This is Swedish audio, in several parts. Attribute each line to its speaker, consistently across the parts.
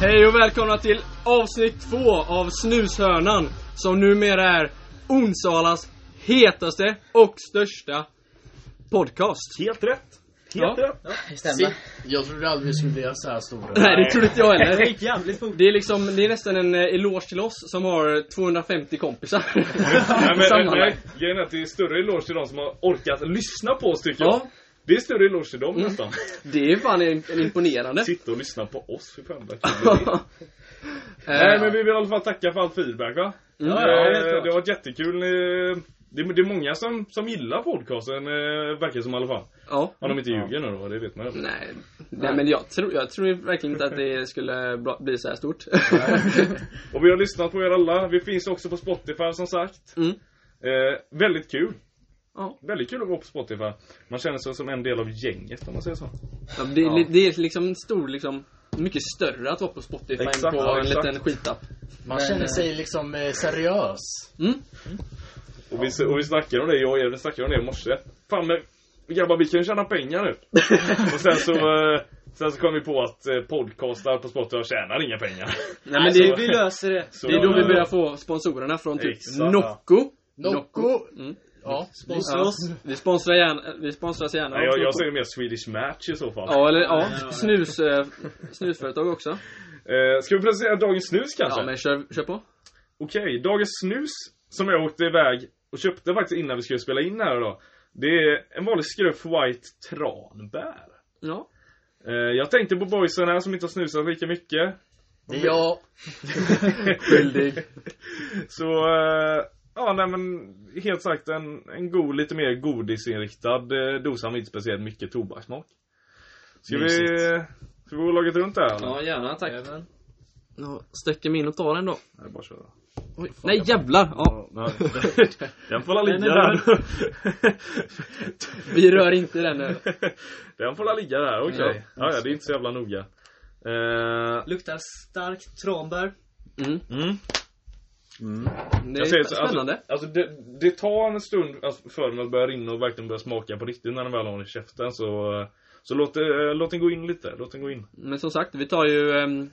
Speaker 1: Hej och välkomna till avsnitt två av Snushörnan som numera är Onsalas hetaste och största podcast.
Speaker 2: Helt rätt! Helt
Speaker 1: Ja.
Speaker 2: rätt!
Speaker 3: Det stämmer.
Speaker 4: Jag trodde aldrig vi skulle bli så här stora.
Speaker 1: Nej, det trodde inte jag heller.
Speaker 2: jävligt fort.
Speaker 1: Det är liksom, det är nästan en eh, eloge till oss som har 250 kompisar.
Speaker 2: Nej, men, men,
Speaker 1: Sammanlagt.
Speaker 2: men grejen är att det är större eloge till de som har orkat lyssna på oss tycker jag.
Speaker 1: Ja, Mm.
Speaker 2: Det är större eloge till dem nästan.
Speaker 1: det är ju fan en, en imponerande. Eh,
Speaker 2: Sitta och lyssna på oss, hur fan det är. Nej men vi vill i alla fall tacka för all feedback va?
Speaker 1: Mm.
Speaker 2: Eh,
Speaker 1: Ja, helt klart.
Speaker 2: det har varit jättekul. Eh, Det är, det är många som, som gillar podcasten, eh, verkar som i alla fall.
Speaker 1: Ja.
Speaker 2: Om de inte ljuger nu då, det vet man ju.
Speaker 1: Nej, nej men jag tror, jag tror verkligen inte att det skulle bra- bli så här stort.
Speaker 2: Och vi har lyssnat på er alla. Vi finns också på Spotify som sagt.
Speaker 1: Mm.
Speaker 2: Eh, väldigt kul.
Speaker 1: Ja.
Speaker 2: Väldigt kul att gå på Spotify. Man känner sig som en del av gänget om man säger så.
Speaker 1: Ja, det, är li- det är liksom en stor, liksom, mycket större att vara på Spotify än
Speaker 2: Exakt,
Speaker 1: på
Speaker 2: ja,
Speaker 1: en
Speaker 2: exakt.
Speaker 1: liten skitapp. Mm.
Speaker 4: Man
Speaker 3: Men,
Speaker 4: känner
Speaker 3: eh,
Speaker 4: sig liksom eh, seriös.
Speaker 2: Och vi, och vi snackade om det, jag och Edvin snackade om det i morse. Fan men grabbar vi kan ju tjäna pengar nu. och sen så, eh, sen så kom vi på att eh, podcastar på Spotify tjänar inga pengar.
Speaker 1: Nej, men det,
Speaker 2: vi
Speaker 3: löser det.
Speaker 2: Så,
Speaker 1: det är då vi
Speaker 2: eh,
Speaker 1: börjar få sponsorerna från typ
Speaker 2: Exakt, ja.
Speaker 1: Nocco.
Speaker 4: Nocco.
Speaker 1: Mm.
Speaker 4: Ja, sponsra
Speaker 1: Ja,
Speaker 4: oss.
Speaker 1: vi sponsrar gärna, vi sponsras gärna
Speaker 2: Nej,
Speaker 1: av
Speaker 2: jag,
Speaker 1: Nocco.
Speaker 2: jag säger mer Swedish Match i så fall.
Speaker 1: Ja, eller ja, snus, eh, snusföretag också.
Speaker 2: Eh, ska vi presentera dagens snus kanske?
Speaker 1: Ja, men kör, kör på.
Speaker 2: Okej, dagens snus som jag åkte iväg och köpte faktiskt innan vi skulle spela in här idag. Det är en vanlig skruff White Tranbär.
Speaker 1: Ja.
Speaker 2: Eh, jag tänkte på boysen här som inte har snusat lika mycket.
Speaker 4: Det är jag.
Speaker 1: Skyldig.
Speaker 2: Så, eh, ja nej men helt sagt en, en god, lite mer godisinriktad eh, dosa med inte speciellt mycket tobakssmak. Ska vi,
Speaker 4: Mysigt.
Speaker 2: ska vi gå laget runt där eller?
Speaker 1: Ja, gärna tack.
Speaker 4: Även.
Speaker 1: Då sträcker mig in och tar den då.
Speaker 2: Nej, bara köra.
Speaker 1: Oj, nej jävlar! Ja,
Speaker 2: Ja, nej. Den får la ligga
Speaker 1: Den är
Speaker 2: där.
Speaker 1: vi rör inte den nu.
Speaker 2: Den får la ligga där, okej.
Speaker 1: Ja.
Speaker 2: Ja, ja, det är inte så jävla noga. Eh,
Speaker 3: Luktar starkt tranbär.
Speaker 1: Mm.
Speaker 2: mm.
Speaker 1: Det
Speaker 2: Jag säger
Speaker 1: är
Speaker 2: så, alltså-
Speaker 1: spännande.
Speaker 2: Alltså det, det tar en stund alltså, för den att börja rinna och verkligen börja smaka på riktigt när den väl har den i käften så eh, Så låt, eh, låt den gå in lite, låt den gå in
Speaker 1: Men som sagt, vi tar ju ehm,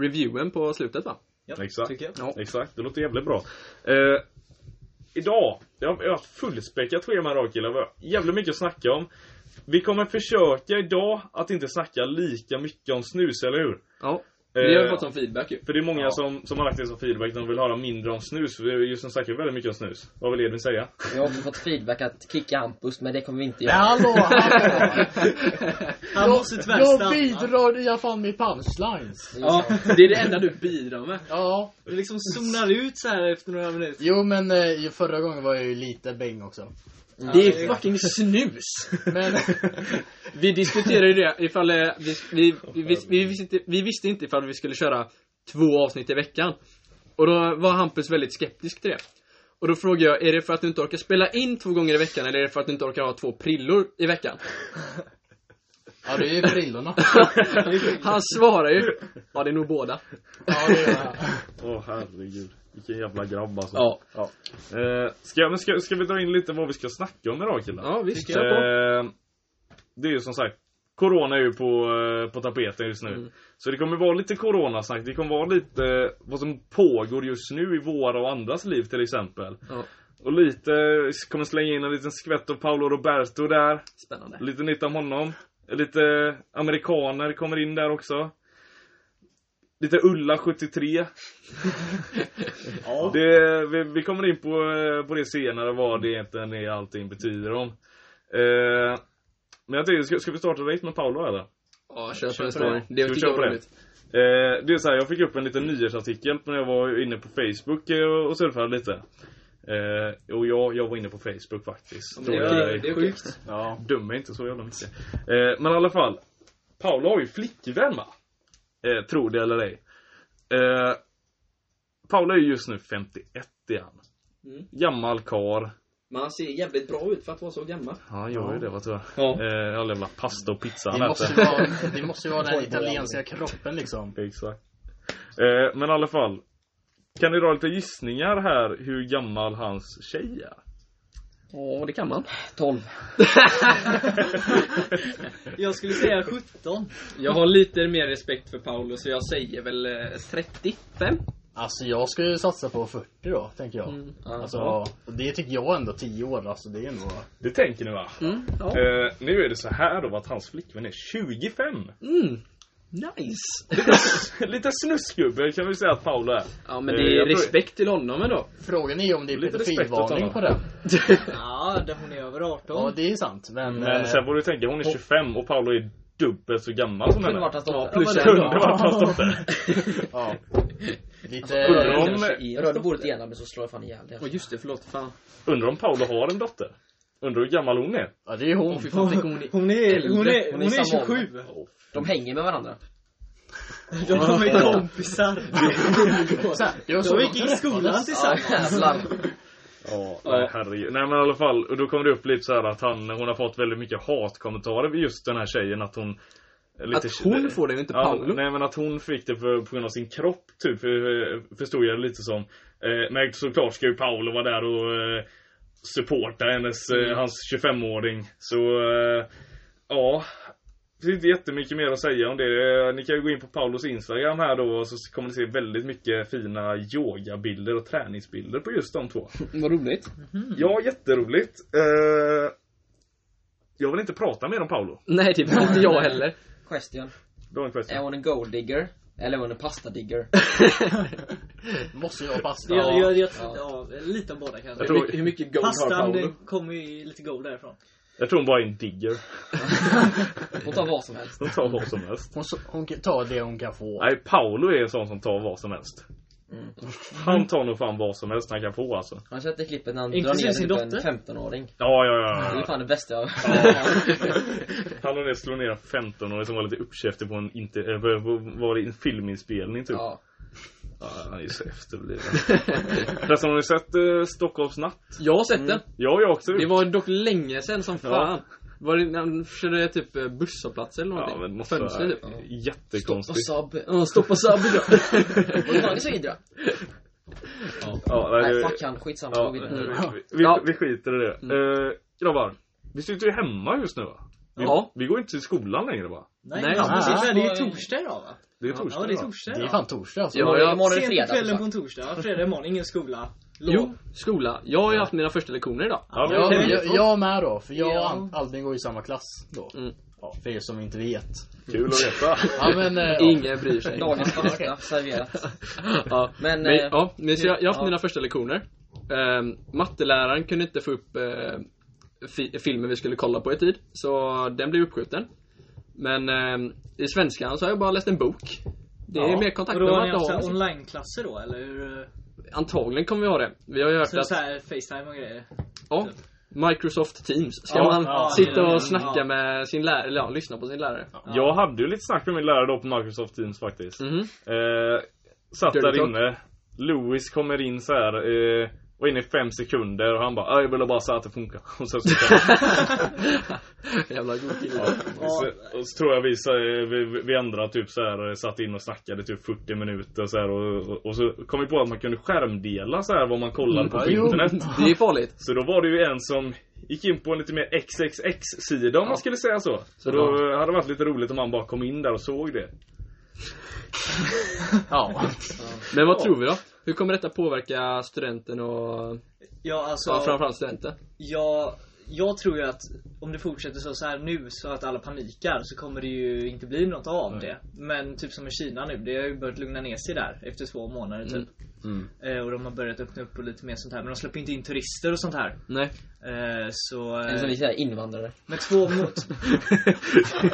Speaker 1: reviewen på slutet va?
Speaker 3: Ja,
Speaker 2: Exakt.
Speaker 3: tycker jag.
Speaker 1: Ja.
Speaker 2: Exakt, det låter jävligt bra eh, Idag, jag har jag har haft fullspäckat schema idag killar, vi har jävligt mycket att snacka om Vi kommer försöka idag att inte snacka lika mycket om snus, eller hur?
Speaker 1: Ja. Vi har ju
Speaker 2: Eh,
Speaker 1: fått som feedback ju.
Speaker 2: För det är många som, som har lagt det som feedback, de vill höra mindre om snus, för vi- just nu snackar vi väldigt mycket om snus Vad vill Edvin säga?
Speaker 5: Jag har också fått feedback att kicka Hampus, men det kommer vi inte
Speaker 4: Men
Speaker 5: göra.
Speaker 4: hallå, hallå.
Speaker 3: Han måste
Speaker 4: Jag-
Speaker 3: tvärstanna.
Speaker 4: Jag bidrar i alla fall med punchlines.
Speaker 1: Ja, det är det enda du bidrar med.
Speaker 4: Ja,
Speaker 3: Du liksom zonar ut så här efter några minuter.
Speaker 4: jo men eh, förra gången var jag ju lite bäng också.
Speaker 1: Det är fucking snus!
Speaker 4: Men,
Speaker 1: Vi diskuterade ju det ifall eh, vi, vi, vi, vi, vi, visste inte, vi visste inte ifall vi skulle köra två avsnitt i veckan. Och då var Hampus väldigt skeptisk till det. Och då frågade jag, är det för att du inte orkar spela in två gånger i veckan eller är det för att du inte orkar ha två prillor i veckan?
Speaker 4: ja det är ju frillorna.
Speaker 1: Han svarar ju, ja det är nog båda.
Speaker 4: Ja det är jag.
Speaker 2: Åh herregud, vilken jävla grabb alltså
Speaker 1: Ja,
Speaker 2: Eh, ska, men ska, ska vi dra in lite vad vi ska snacka om idag killar?
Speaker 1: ja visst.
Speaker 2: Eh, det är ju som sagt Corona är ju på, eh, på tapeten just nu.
Speaker 1: Mm.
Speaker 2: Så det kommer vara lite coronasnack. Det kommer vara lite eh, vad som pågår just nu i våra och andras liv till exempel.
Speaker 1: Ja.
Speaker 2: Och lite, kommer slänga in en liten skvätt av Paolo Roberto där.
Speaker 1: Spännande.
Speaker 2: Lite nytt om honom. Lite amerikaner kommer in där också. Lite Ulla 73. det, vi, vi kommer in på, eh, på det senare, vad det egentligen är allting betyder om. Eh, men jag tänkte, ska, ska vi starta direkt med Paolo eller?
Speaker 1: Ja, kör på
Speaker 2: Kör
Speaker 1: den
Speaker 2: på
Speaker 1: storyn.
Speaker 2: det.
Speaker 1: Det
Speaker 2: Ska vi
Speaker 1: tycker
Speaker 2: köra
Speaker 1: jag
Speaker 2: på
Speaker 1: är
Speaker 2: det?
Speaker 1: roligt.
Speaker 2: Eh, det är så här, jag fick upp en liten nyhetsartikel när jag var inne på Facebook eh, och surfade lite. Eh, och jag, jag var inne på Facebook faktiskt.
Speaker 1: Det
Speaker 2: Och,
Speaker 1: är,
Speaker 2: eh,
Speaker 1: det är sjukt.
Speaker 2: Ja. Döm mig inte så jävla mycket. Eh, men i alla fall. Paolo har ju flickvän va? Eh, tror det eller ej. Eh, Paolo är ju just nu 51 är han.
Speaker 1: Mm.
Speaker 2: Gammal kar.
Speaker 1: Men han ser jävligt bra ut för att vara så gammal.
Speaker 2: Ja, han gör ju det va tyvärr.
Speaker 1: Ja.
Speaker 2: Eh, all jävla pasta och pizza
Speaker 4: Det
Speaker 2: han
Speaker 4: måste
Speaker 2: äter.
Speaker 4: ju vara, det måste ju vara den italienska kroppen liksom.
Speaker 2: Exakt. Eh, men i alla fall. Kan ni dra lite gissningar här hur gammal hans tjej är?
Speaker 1: Ja, det kan man.
Speaker 5: 12.
Speaker 3: Jag skulle säga 17.
Speaker 1: Jag har lite mer respekt för Paolo, så jag säger väl eh, 35.
Speaker 4: Alltså jag ska ju satsa på 40 då, tänker jag.
Speaker 1: Mm.
Speaker 4: Alltså, och det tycker jag ändå 10 år, alltså det är ändå...
Speaker 2: Det tänker ni va?
Speaker 1: Mm, ja.
Speaker 2: Eh, nu är det så här då att hans flickvän är 25.
Speaker 1: Mm. Nice!
Speaker 2: Lite snuskgubbe kan vi säga att Paolo är.
Speaker 1: Ja, men
Speaker 2: Eh,
Speaker 1: det är
Speaker 2: jag tror-
Speaker 1: respekt till honom ändå.
Speaker 4: Frågan är ju om det är
Speaker 2: Lite respekt åt
Speaker 4: pedofilvarning
Speaker 2: honom.
Speaker 4: på den.
Speaker 3: Ja, där hon är över 18.
Speaker 4: Ja, det är sant. Men...
Speaker 2: Men
Speaker 4: eh,
Speaker 2: sen får du tänka, hon är 25 och Paolo är dubbelt så gammal som
Speaker 5: Kunde
Speaker 2: henne.
Speaker 5: varit hans dotter.
Speaker 1: plus
Speaker 5: Ja, men-
Speaker 2: Kunde varit hans dotter.
Speaker 4: ja. Lite...
Speaker 2: undrar om-
Speaker 5: Jag rörde bordet igen men så slår jag fan ihjäl det.
Speaker 1: Åh just det, förlåt. Fan.
Speaker 2: Undrar om Paolo har en dotter? Undrar hur gammal hon är?
Speaker 4: Ja, det är ju hon.
Speaker 1: Åh fy fan, tänk om hon är...
Speaker 3: Hon är, hon
Speaker 1: Äldre.
Speaker 3: är,
Speaker 5: Hon
Speaker 3: hon
Speaker 5: är
Speaker 3: är
Speaker 5: samma
Speaker 3: 27.
Speaker 5: De hänger med varandra.
Speaker 3: De är kompisar.
Speaker 4: Så här, det var så
Speaker 3: De gick i skolan
Speaker 5: Ja,
Speaker 3: tillsammans.
Speaker 5: jävlar.
Speaker 2: Ja, nej, herregud. Nej men i alla fall, och då kommer det upp lite så här att han, hon har fått väldigt mycket hatkommentarer vid just den här tjejen att hon är lite,
Speaker 1: Att hon får det, inte
Speaker 2: Ja,
Speaker 1: Paolo.
Speaker 2: nej men att hon fick det för, på grund av sin kropp typ, för- förstod jag det lite som. Eh, Men såklart ska ju Paolo vara där och eh, supporta hennes, eh,
Speaker 1: Mm.
Speaker 2: hans 25-åring. Så, eh, ja. Det finns inte jättemycket mer att säga om det. Eh, Ni kan ju gå in på Paulos Instagram här då och så kommer ni se väldigt mycket fina yogabilder och träningsbilder på just de två.
Speaker 1: Vad roligt.
Speaker 2: Ja, jätteroligt. Eh, jag vill inte prata mer om Paolo.
Speaker 1: Nej, det vill inte jag heller.
Speaker 5: Question.
Speaker 2: Du har en
Speaker 5: Är
Speaker 2: question.
Speaker 5: hon en gold digger? Eller är hon en pasta digger?
Speaker 4: Måste ju vara pasta.
Speaker 3: Jag, jag, jag,
Speaker 5: Ja.
Speaker 3: ja, lite av båda kanske.
Speaker 2: Jag
Speaker 1: Hur
Speaker 2: tror-
Speaker 1: mycket, hur mycket gold har
Speaker 3: Pastan
Speaker 1: Paolo?
Speaker 3: den kommer ju lite god därifrån.
Speaker 2: Jag tror hon bara är en digger.
Speaker 5: Hon tar vad som helst.
Speaker 2: Hon tar vad som helst.
Speaker 4: Hon, så- hon kan ta det hon kan få.
Speaker 2: Nej, Paolo är en sån som tar vad som helst.
Speaker 5: Mm.
Speaker 2: Han tar nog fan vad som helst han kan få alltså.
Speaker 5: Har ni sett det klippet när han drar
Speaker 3: Inklusive
Speaker 5: ner
Speaker 3: sin
Speaker 5: typ en
Speaker 3: dotter?
Speaker 5: 15-åring?
Speaker 2: Ja, ja,
Speaker 5: Det är
Speaker 2: ja.
Speaker 5: fan det bästa jag
Speaker 2: Han och det slår ner 15-åring som var lite uppkäftig på en, inte, eh, på- på- var det en filminspelning typ.
Speaker 5: Ja.
Speaker 2: Ja, han är ju så efterbliven. Förresten, har ni sett eh, Stockholms natt?
Speaker 1: Jag har sett den.
Speaker 2: Ja, jag också.
Speaker 1: Det var dock länge sedan som fan. Var det när han körde typ eh, busshållplats eller
Speaker 2: ja,
Speaker 1: någonting?
Speaker 2: men det måste
Speaker 1: Fönster typ.
Speaker 2: vara
Speaker 5: Stopp och
Speaker 2: jättekonstigt.
Speaker 5: sub.
Speaker 1: Ja, stoppa Saab idag.
Speaker 5: Och det var så idra.
Speaker 2: Ja,
Speaker 5: Nej
Speaker 2: det-
Speaker 5: fuck han, skitsamma.
Speaker 2: Ja,
Speaker 5: Ja,
Speaker 2: vi,
Speaker 5: vidare.
Speaker 2: vi,
Speaker 1: Ja.
Speaker 2: vi skiter i det. Eh, grabbar, vi sitter ju hemma just nu va? Vi,
Speaker 1: Ja.
Speaker 2: vi går inte till skolan längre va?
Speaker 1: Nej,
Speaker 3: Nej, Nej
Speaker 1: ja.
Speaker 3: det är ju torsdag idag va?
Speaker 2: Det är torsdag
Speaker 3: Ja, det är
Speaker 2: va?
Speaker 3: torsdag
Speaker 4: Det är
Speaker 3: idag.
Speaker 4: fan torsdag alltså.
Speaker 1: Ja, jag-
Speaker 5: Imorgon är det
Speaker 3: Sent på
Speaker 5: fredag
Speaker 3: kvällen på
Speaker 5: som
Speaker 3: en torsdag. Fredag imorgon, ingen skola. Lov.
Speaker 1: Jo, skola. Jag har ju haft mina första lektioner idag.
Speaker 2: Ja, det är
Speaker 4: Ja,
Speaker 2: torsdag.
Speaker 4: jag, jag med då, för jag och
Speaker 3: Ja.
Speaker 4: Al- Albin går i samma klass då.
Speaker 1: Mm.
Speaker 4: Ja, för er som inte vet.
Speaker 2: Kul att veta.
Speaker 4: Ja, men, eh, ja.
Speaker 1: Ingen bryr sig.
Speaker 5: Dagens
Speaker 4: Okej.
Speaker 5: pasta serverat.
Speaker 1: Ja.
Speaker 5: Men,
Speaker 1: Men,
Speaker 5: eh,
Speaker 1: ja, men så jag, jag har haft
Speaker 5: ja.
Speaker 1: mina första lektioner. Ehm, matteläraren kunde inte få upp eh, fi- filmen vi skulle kolla på i tid, så den blev uppskjuten. Men ehm, i svenskan så har jag bara läst en bok. Det är
Speaker 2: Ja.
Speaker 1: mer
Speaker 3: Och
Speaker 1: kontakt med
Speaker 3: då har
Speaker 1: vad
Speaker 3: ni haft så
Speaker 1: jag
Speaker 3: här
Speaker 1: har.
Speaker 3: onlineklasser då eller? hur?
Speaker 1: Antagligen kommer vi ha det. Vi har ju hört
Speaker 3: Så, så
Speaker 1: att
Speaker 3: här facetime och grejer.
Speaker 1: ja, Microsoft Teams ska
Speaker 2: Ja,
Speaker 1: man
Speaker 3: ja, det
Speaker 1: sitta
Speaker 3: är det.
Speaker 1: och snacka
Speaker 3: Ja.
Speaker 1: med sin lärare, eller ja, lyssna på sin lärare.
Speaker 2: Jag hade ju lite snack med min lärare då på Microsoft Teams faktiskt.
Speaker 1: Mhm.
Speaker 2: Eh, satt
Speaker 1: Dirty
Speaker 2: där
Speaker 1: talk.
Speaker 2: inne. Louis kommer in så här. Eh, var inne i fem sekunder och han bara "Ah, jag ville bara säga att det funkar. Och sen så
Speaker 1: Jävla god kille.
Speaker 2: Ja, och så, och så tror jag vi, så, vi, vi andra typ så här, eh, satt in och snackade typ 40 minuter så här, och, och, och så kom vi på att man kunde skärmdela så här vad man
Speaker 1: Mm,
Speaker 2: kollade på
Speaker 4: Ja,
Speaker 2: på
Speaker 4: jo.
Speaker 2: internet.
Speaker 1: Det är farligt.
Speaker 2: Så då var det ju en som gick in på en lite mer XXX-sida om man skulle säga så. Så då eh, hade det varit lite roligt om man bara kom in där och såg det.
Speaker 4: ja.
Speaker 1: Men vad tror vi då? Hur kommer detta påverka studenten och,
Speaker 3: Ja, alltså.
Speaker 1: ja, framförallt studenten?
Speaker 3: Jag, jag tror ju att om det fortsätter så, så här nu så att alla panikar så kommer det ju inte bli något av det. Men typ som i Kina nu, det har ju börjat lugna ner sig där efter två månader typ. Eh, och de har börjat öppna upp och lite mer sånt här. Men de släpper inte in turister och sånt här.
Speaker 1: Nej.
Speaker 3: Eh, så...
Speaker 5: Eller som
Speaker 3: Eh,
Speaker 5: vi säger, invandrare.
Speaker 3: med två mot...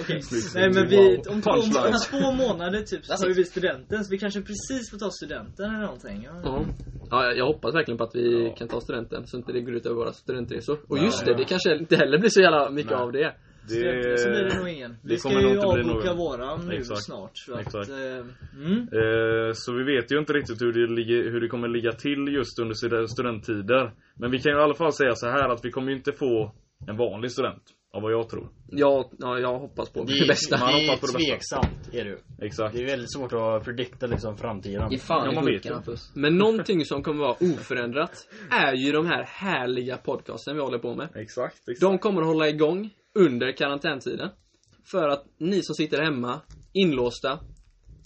Speaker 3: Okej. Nej men vi, om två, om två månader typ så tar ju vi studenten. Så vi kanske precis får ta studenten eller någonting. Ja.
Speaker 1: Ja. Ja, jag- jag hoppas verkligen på att vi kan ta studenten så inte det går ut över våra studentresor. Och just det, det kanske inte heller blir så jävla mycket av det.
Speaker 2: Det,
Speaker 3: Så blir det nog ingen.
Speaker 2: det
Speaker 3: Vi ska
Speaker 2: kommer nog
Speaker 3: ju
Speaker 2: inte bli
Speaker 3: avboka
Speaker 2: någon.
Speaker 3: våran nu
Speaker 2: Exakt.
Speaker 3: snart. Så att,
Speaker 2: Exakt.
Speaker 3: eh, mm.
Speaker 2: eh, så vi vet ju inte riktigt hur det, ligger, hur det kommer ligga till just under stud- studenttider. Men vi kan ju i alla fall säga så här att vi kommer ju inte få en vanlig student. Av vad jag tror.
Speaker 1: Ja, ja, jag hoppas på
Speaker 4: Det
Speaker 1: det, bästa.
Speaker 2: man
Speaker 4: är, det
Speaker 2: hoppas
Speaker 4: är
Speaker 2: på det bästa.
Speaker 4: tveksamt, är det ju.
Speaker 2: Exakt.
Speaker 4: Det är väldigt svårt att predikta liksom framtiden.
Speaker 5: Ge fan
Speaker 2: Ja,
Speaker 5: i
Speaker 2: man vet
Speaker 5: burken
Speaker 2: ju.
Speaker 5: Hampus.
Speaker 1: Men någonting som kommer vara oförändrat är ju de här härliga podcasten vi håller på med.
Speaker 2: Exakt, exakt.
Speaker 1: De kommer att hålla igång under karantäntiden. För att ni som sitter hemma, inlåsta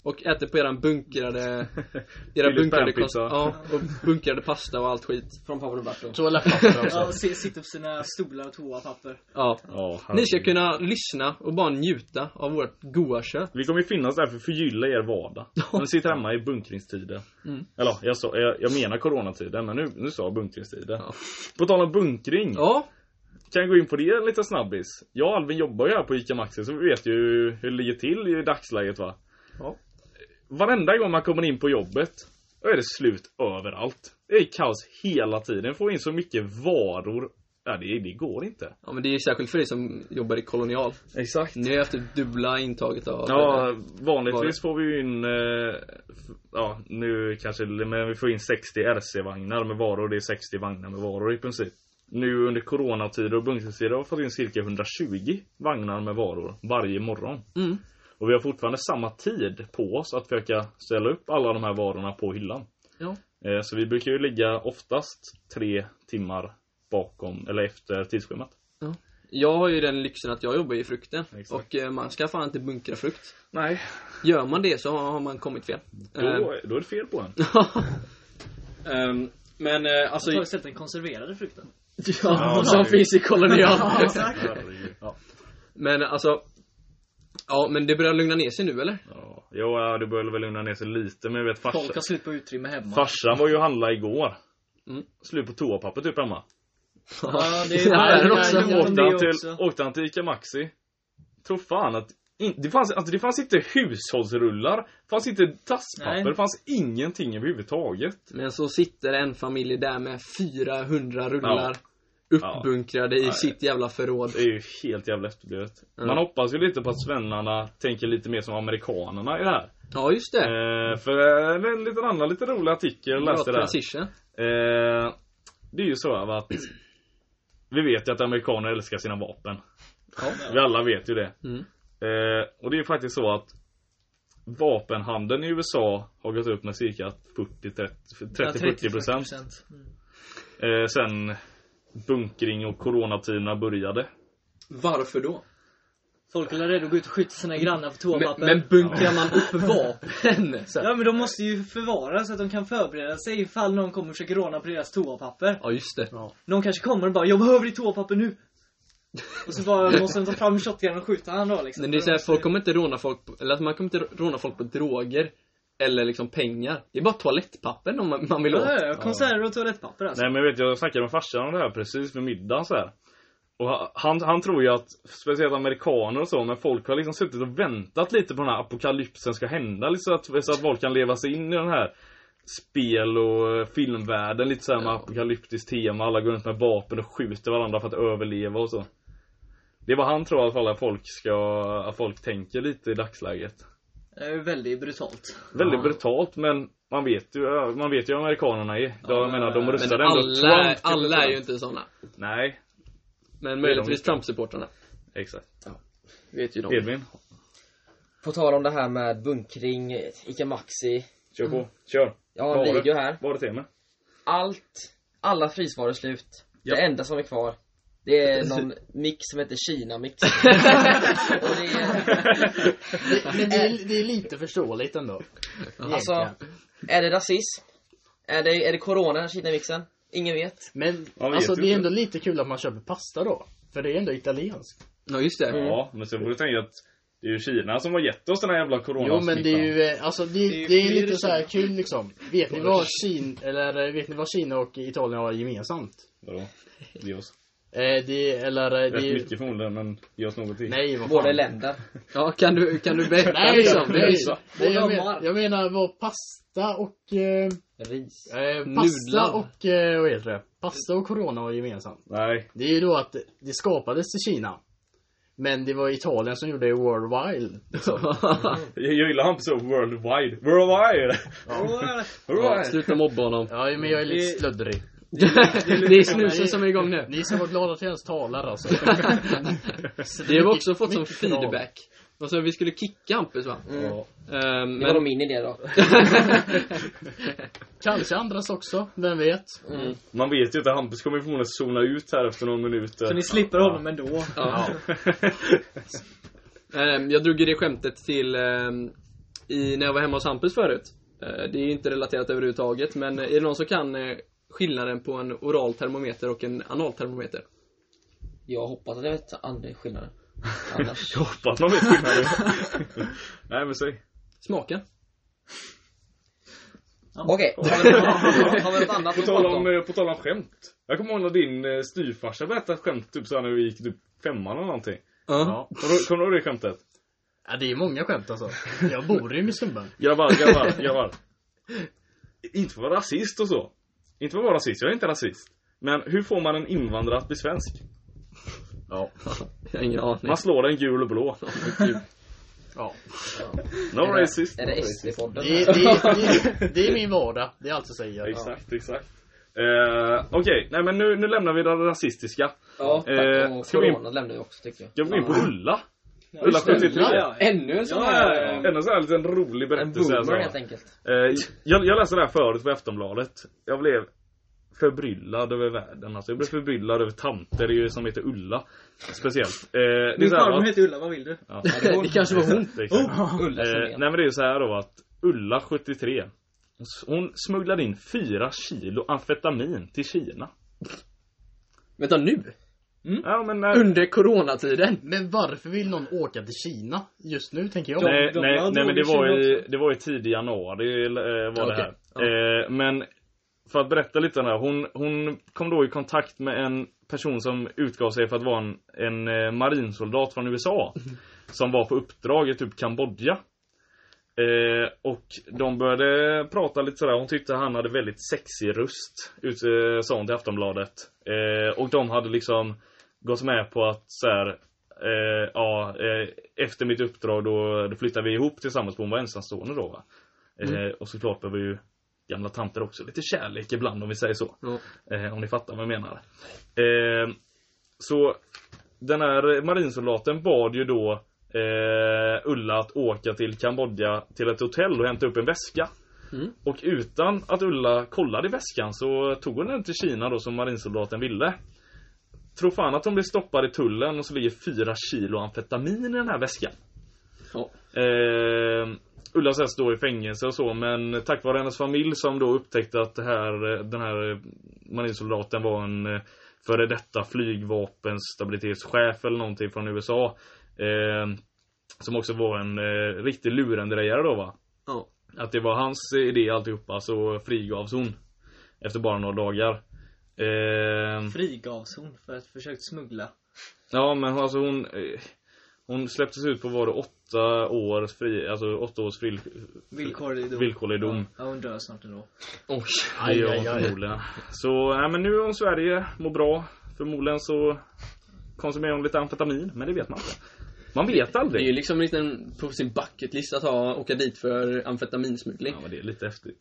Speaker 1: och äter på eran bunkrade, era
Speaker 2: Philips
Speaker 1: bunkrade,
Speaker 2: panpizza.
Speaker 1: kost, ja, och bunkrade pasta och allt skit.
Speaker 5: Från Paolo Roberto.
Speaker 4: Toalettpapper
Speaker 3: Ja,
Speaker 4: också.
Speaker 3: och se- sitta på sina stolar och toapapper.
Speaker 1: Ja.
Speaker 2: Ja,
Speaker 1: Ni ska kunna lyssna och bara njuta av vårt goa kött.
Speaker 2: Vi kommer ju finnas där för att förgylla er vardag. När ni sitter hemma i bunkringstider.
Speaker 1: Mm.
Speaker 2: Eller jag, sa, jag, jag menar coronatider, men nu, nu sa jag bunkringstider.
Speaker 1: Ja.
Speaker 2: På tal om bunkring.
Speaker 1: Ja,
Speaker 2: Kan jag gå in på det lite snabbis? Jag och Alvin jobbar ju här på ICA Maxi så vi vet ju hur det ligger till i dagsläget va?
Speaker 1: Ja.
Speaker 2: Varenda gång man kommer in på jobbet då är det slut överallt. Det är kaos hela tiden. Får in så mycket varor. Ja, det, det går inte.
Speaker 1: ja men det är ju särskilt för dig som jobbar i kolonial.
Speaker 2: Exakt.
Speaker 1: Ni har ju haft det dubbla intaget av
Speaker 2: Ja, vanligtvis får vi ju in, eh, f- ja nu kanske, men vi får in 60 RC-vagnar med varor. Det är 60 vagnar med varor i princip. Nu under coronatider och bunkringstider har vi fått in cirka 120 vagnar med varor varje morgon.
Speaker 1: Mm.
Speaker 2: Och vi har fortfarande samma tid på oss att försöka ställa upp alla de här varorna på hyllan.
Speaker 1: Ja.
Speaker 2: Eh, Så vi brukar ju ligga oftast tre timmar bakom, eller efter tidsschemat.
Speaker 1: Jag har ju den lyxen att jag jobbar i frukten.
Speaker 2: Exakt.
Speaker 1: Och eh, man ska fan inte bunkra frukt.
Speaker 2: Nej.
Speaker 1: Gör man det så har har man kommit fel. Eh,
Speaker 2: Då, då är det fel på en.
Speaker 1: ehm, men eh, alltså...
Speaker 3: Så har istället den konserverade frukten.
Speaker 1: Ja, som
Speaker 2: herregud.
Speaker 1: finns i kolonial.
Speaker 2: Herregud. Ja.
Speaker 1: men alltså... Ja, men det börjar lugna ner sig nu eller?
Speaker 2: Ja, jo, ja, det började väl lugna ner sig lite, men jag vet farsan,
Speaker 3: Folk har slut på utrymme hemma.
Speaker 2: farsan var ju och handlade igår.
Speaker 1: Mm.
Speaker 2: Slut på toapapper typ hemma.
Speaker 3: Ja, det
Speaker 1: Ja, det är
Speaker 3: jag
Speaker 1: också.
Speaker 3: tänker på
Speaker 2: åkte, han
Speaker 3: det
Speaker 2: till,
Speaker 3: också.
Speaker 2: åkte han till Ica Maxi. Tror fan att in, det, fanns, alltså det fanns inte hushållsrullar, det fanns inte dasspapper,
Speaker 3: Nej.
Speaker 2: det fanns ingenting överhuvudtaget.
Speaker 1: Men så sitter en familj där med 400 rullar.
Speaker 2: Ja.
Speaker 1: Uppbunkrade i
Speaker 2: Nej.
Speaker 1: sitt jävla förråd.
Speaker 2: Det är ju helt jävla efterblivet.
Speaker 1: Mm.
Speaker 2: Man hoppas ju lite på att svennarna tänker lite mer som amerikanerna i det här.
Speaker 1: Ja, just det.
Speaker 2: Eh, för eh, en liten annan lite rolig artikel jag
Speaker 1: Bra
Speaker 2: läste där.
Speaker 1: transition.
Speaker 2: Eh, det är ju så här att vi vet ju att amerikaner älskar sina vapen. Vi alla vet ju det.
Speaker 1: Mm.
Speaker 2: Eh, och det är ju faktiskt så att vapenhandeln i USA har gått upp med cirka 30-40 procent. Eh, sen bunkring och coronatiderna började.
Speaker 1: Varför då?
Speaker 3: Folk är redo att gå ut och skjuta sina grannar på
Speaker 1: Men,
Speaker 3: toapapper.
Speaker 1: men bunkrar man upp vapen? Så här.
Speaker 3: Ja men de måste ju förvara så att de kan förbereda sig ifall någon kommer och försöker råna på deras toapapper.
Speaker 1: Ja, just det.
Speaker 3: Någon kanske kommer och bara 'Jag behöver ditt toapapper nu' Och så bara måste de ta fram shotgun och skjuta han då liksom.
Speaker 1: Men det är såhär, folk kommer inte råna folk, på, eller att man kommer inte råna folk på droger. Eller liksom pengar. Det är bara toalettpapper om man, man vill åt.
Speaker 3: Ja, ja, konserver och toalettpapper alltså.
Speaker 2: Nej men vet jag snackade med farsan om det här precis vid middagen så här. Och ha- han, han tror ju att, speciellt amerikaner och så, men folk har liksom suttit och väntat lite på den här apokalypsen ska hända. Liksom, så att, så att folk kan leva sig in i den här spel och eh, filmvärlden lite såhär med apokalyptiskt tema. Alla går runt med vapen och skjuter varandra för att överleva och så. Det är vad han tror i alla fall att folk ska, att folk tänker lite i dagsläget.
Speaker 3: Det är ju väldigt brutalt.
Speaker 2: Väldigt brutalt men man vet ju, man vet ju hur amerikanerna är. Jag menar de
Speaker 1: Men
Speaker 2: röstade ändå
Speaker 1: alla,
Speaker 2: Trump till
Speaker 1: alla är ju
Speaker 2: president.
Speaker 1: inte såna.
Speaker 2: Nej,
Speaker 1: Men
Speaker 2: de
Speaker 1: möjligtvis
Speaker 2: inte.
Speaker 1: Trump-supportrarna.
Speaker 2: exakt.
Speaker 1: Vet ju de.
Speaker 2: Edvin,
Speaker 5: På tal om det här med bunkring, Ica Maxi.
Speaker 2: kör på. Kör.
Speaker 5: Jag har en
Speaker 2: Varor.
Speaker 5: video här.
Speaker 2: Vad är det tema?
Speaker 5: Allt, alla frysvaror är slut.
Speaker 2: Ja.
Speaker 5: Det enda som är kvar, det är någon mix som heter Kina-mix. och det är,
Speaker 4: Men det är, det är lite förståeligt ändå.
Speaker 5: alltså, är det rasism? Är det, är det corona, Kina-mixen? Ingen vet.
Speaker 4: Men
Speaker 2: Ja, vet
Speaker 4: alltså,
Speaker 2: ju
Speaker 4: det är
Speaker 2: inte.
Speaker 4: ändå lite kul att man köper pasta då. För det är ändå italienskt.
Speaker 1: Ja, just det.
Speaker 2: Ja, men sen får du tänka att det är ju Kina som har gett oss den här jävla
Speaker 4: Jo
Speaker 2: coronasmittan.
Speaker 4: men det är ju, eh, alltså det, det,
Speaker 3: ju
Speaker 4: är
Speaker 3: fler
Speaker 4: lite så här
Speaker 3: som-
Speaker 4: kul liksom. Vet ni vad Kina, eller eh, vet ni vad Kina och Italien har gemensamt?
Speaker 2: Vadå? Ge oss.
Speaker 4: Eh, det, eller eh,
Speaker 2: Rätt
Speaker 4: det är
Speaker 2: mycket förmodligen, men ge oss någonting.
Speaker 4: Nej vad
Speaker 5: Båda är
Speaker 4: fan.
Speaker 5: länder.
Speaker 1: Ja, kan du, kan du berätta
Speaker 4: Nej,
Speaker 1: liksom?
Speaker 4: nej,
Speaker 1: så.
Speaker 4: nej jag,
Speaker 3: Båda
Speaker 4: men,
Speaker 3: har.
Speaker 4: jag menar vad pasta och eh,
Speaker 5: Ris.
Speaker 4: Eh,
Speaker 1: Nudlar.
Speaker 4: pasta och, eh, vad heter det? Pasta och corona var gemensamt.
Speaker 2: Nej.
Speaker 4: Det är ju då att det skapades i Kina. Men det var Italien som gjorde det worldwide.
Speaker 2: Jag, jag gillar han så worldwide. Worldwide!
Speaker 3: Ja.
Speaker 1: Ja, Sluta mobba honom.
Speaker 4: Ja, men jag är lite
Speaker 3: Det-
Speaker 4: slöddrig.
Speaker 1: det är
Speaker 4: liksom-
Speaker 1: snusen som är igång nu.
Speaker 4: Ni ska vara glada att jag ens talar alltså.
Speaker 1: Det har vi också fått som
Speaker 4: Mycket bra.
Speaker 1: feedback. Alltså vi skulle kicka Hampus va?
Speaker 5: Mm.
Speaker 4: Ja.
Speaker 1: Ehm,
Speaker 5: Det var
Speaker 1: men...
Speaker 5: nog min idé då.
Speaker 4: Kanske andras också, vem vet?
Speaker 2: Man vet ju inte, Hampus kommer ju förmodligen zona ut här efter några minuter.
Speaker 3: Så ni slipper honom ändå.
Speaker 1: ja. Ehm, jag drog ju det skämtet till ehm, i, när jag var hemma hos Hampus förut. Eh, det är ju inte relaterat överhuvudtaget men eh, är det någon som kan eh, skillnaden på en oral termometer och en anal termometer?
Speaker 5: Jag hoppas att jag vet andra skillnaden. Annars.
Speaker 2: Jag hoppas man vet skillnaden. Nej men säg.
Speaker 1: Smaken.
Speaker 5: Okej, har vi- har vi något annat
Speaker 2: På
Speaker 5: att
Speaker 2: tal
Speaker 5: prata
Speaker 2: om,
Speaker 5: om?
Speaker 2: eh, på tal om skämt. Jag kommer ihåg när din eh, styvfarsa berättade ett skämt typ såhär när vi gick typ femman eller någonting.
Speaker 1: Ja.
Speaker 4: Ja.
Speaker 2: Kommer du- Kommer du ihåg det skämtet?
Speaker 4: ja, det är många skämt alltså. Jag bor ju med snubben.
Speaker 2: Grabbar, grabbar, grabbar. Inte för att vara rasist och så. Inte för att vara rasist, jag är inte rasist. Men hur får man en invandrare att bli svensk?
Speaker 4: Ja.
Speaker 1: Jag har ingen aning.
Speaker 2: Man slår den gul och blå.
Speaker 4: ja.
Speaker 2: No racist.
Speaker 5: Är
Speaker 2: no
Speaker 5: det
Speaker 2: racist.
Speaker 5: SD-podden?
Speaker 4: Det, det, det, det är min vardag, det är allt jag säger.
Speaker 2: Exakt, exakt. Eh, Okej, nej men nu, nu lämnar vi det rasistiska.
Speaker 5: Ja, tack.
Speaker 2: Eh,
Speaker 5: och
Speaker 2: ska vi in-
Speaker 5: corona lämnar vi också tycker jag.
Speaker 2: Jag går in på Ulla.
Speaker 3: Ja,
Speaker 2: Ulla
Speaker 3: just det.
Speaker 2: 73.
Speaker 3: Ja, ja.
Speaker 5: Ännu en sån
Speaker 3: Ja,
Speaker 5: här...
Speaker 3: ja,
Speaker 5: eh,
Speaker 2: En sån här liten rolig
Speaker 5: En
Speaker 2: berättelse. alltså.
Speaker 5: boomer helt enkelt.
Speaker 2: Eh, jag, jag läste det här förut på Aftonbladet. Jag blev förbryllad över världen. Alltså, jag blev förbryllad över tanter ju som heter Ulla. Speciellt. Eh, det är
Speaker 3: Min
Speaker 2: så här,
Speaker 3: farmor
Speaker 2: va?
Speaker 3: heter Ulla, vad vill du?
Speaker 2: Ja.
Speaker 1: Det kanske var hon.
Speaker 2: Det är exakt.
Speaker 3: Oh.
Speaker 5: Ulla
Speaker 2: Eh, nej
Speaker 5: Sundén.
Speaker 2: men det är ju så här då att Ulla 73 hon s- Hon smugglade in 4 kilo amfetamin till Kina.
Speaker 1: Vänta nu?
Speaker 2: Ja men eh,
Speaker 1: Under coronatiden?
Speaker 4: Men varför vill någon åka till Kina just nu tänker jag?
Speaker 2: Nej,
Speaker 3: de
Speaker 2: nej,
Speaker 3: har
Speaker 2: nej men det
Speaker 3: dragit
Speaker 2: var,
Speaker 3: Kina
Speaker 2: i, det var i tidig januari eh, var det här.
Speaker 1: Okej, ja.
Speaker 2: Eh, men för att berätta lite om det här. Hon, hon kom då i kontakt med en person som utgav sig för att vara en, en eh, marinsoldat från USA. Som var på uppdrag i typ Kambodja. Eh, och de började prata lite sådär. Hon tyckte han hade väldigt sexig röst. Ut, eh, sa hon till Aftonbladet. Eh, och de hade liksom gått med på att så här, eh, ja, eh, efter mitt uppdrag då, då flyttar vi ihop tillsammans för hon var ensamstående då va. Eh, Och såklart behöver ju gamla tanter också lite kärlek ibland om vi säger så.
Speaker 1: Ja.
Speaker 2: Eh, om ni fattar vad jag menar. Eh, så den här marinsoldaten bad ju då eh, Ulla att åka till Kambodja till ett hotell och hämta upp en väska.
Speaker 1: Mm.
Speaker 2: Och utan att Ulla kollade i väskan så tog hon den till Kina då som marinsoldaten ville. Tror fan att hon blev stoppad i tullen och så ligger fyra kilo amfetamin i den här väskan.
Speaker 1: Ja.
Speaker 2: Eh, Ulla Sess då i fängelse och så men tack vare hennes familj som då upptäckte att det här, eh, den här eh, marinsoldaten var en eh, före detta flygvapenstabilitetschef eller någonting från USA. Eh, som också var en eh, riktig lurendrejare då va?
Speaker 1: Ja.
Speaker 2: Att det var hans idé alltihopa så frigavs hon. Efter bara några dagar. Eh,
Speaker 3: Frigavs hon för att försökt smuggla.
Speaker 2: Ja men alltså hon eh, Hon släpptes ut på var det åtta år fri, alltså åtta års fri,
Speaker 3: Villkorlig dom.
Speaker 2: villkorlig dom.
Speaker 3: Ja, hon dör snart ändå.
Speaker 1: Oj.
Speaker 2: Det
Speaker 4: Aj,
Speaker 2: gör hon
Speaker 4: aj, aj.
Speaker 2: förmodligen. Så nej men nu om Sverige mår bra. Förmodligen så konsumerar hon lite amfetamin, men det vet man inte. Man vet
Speaker 1: Det är ju
Speaker 2: aldrig.
Speaker 1: liksom lite en, på sin bucket list att ha, åka dit för amfetaminsmuggling.
Speaker 2: Ja men det är lite häftigt.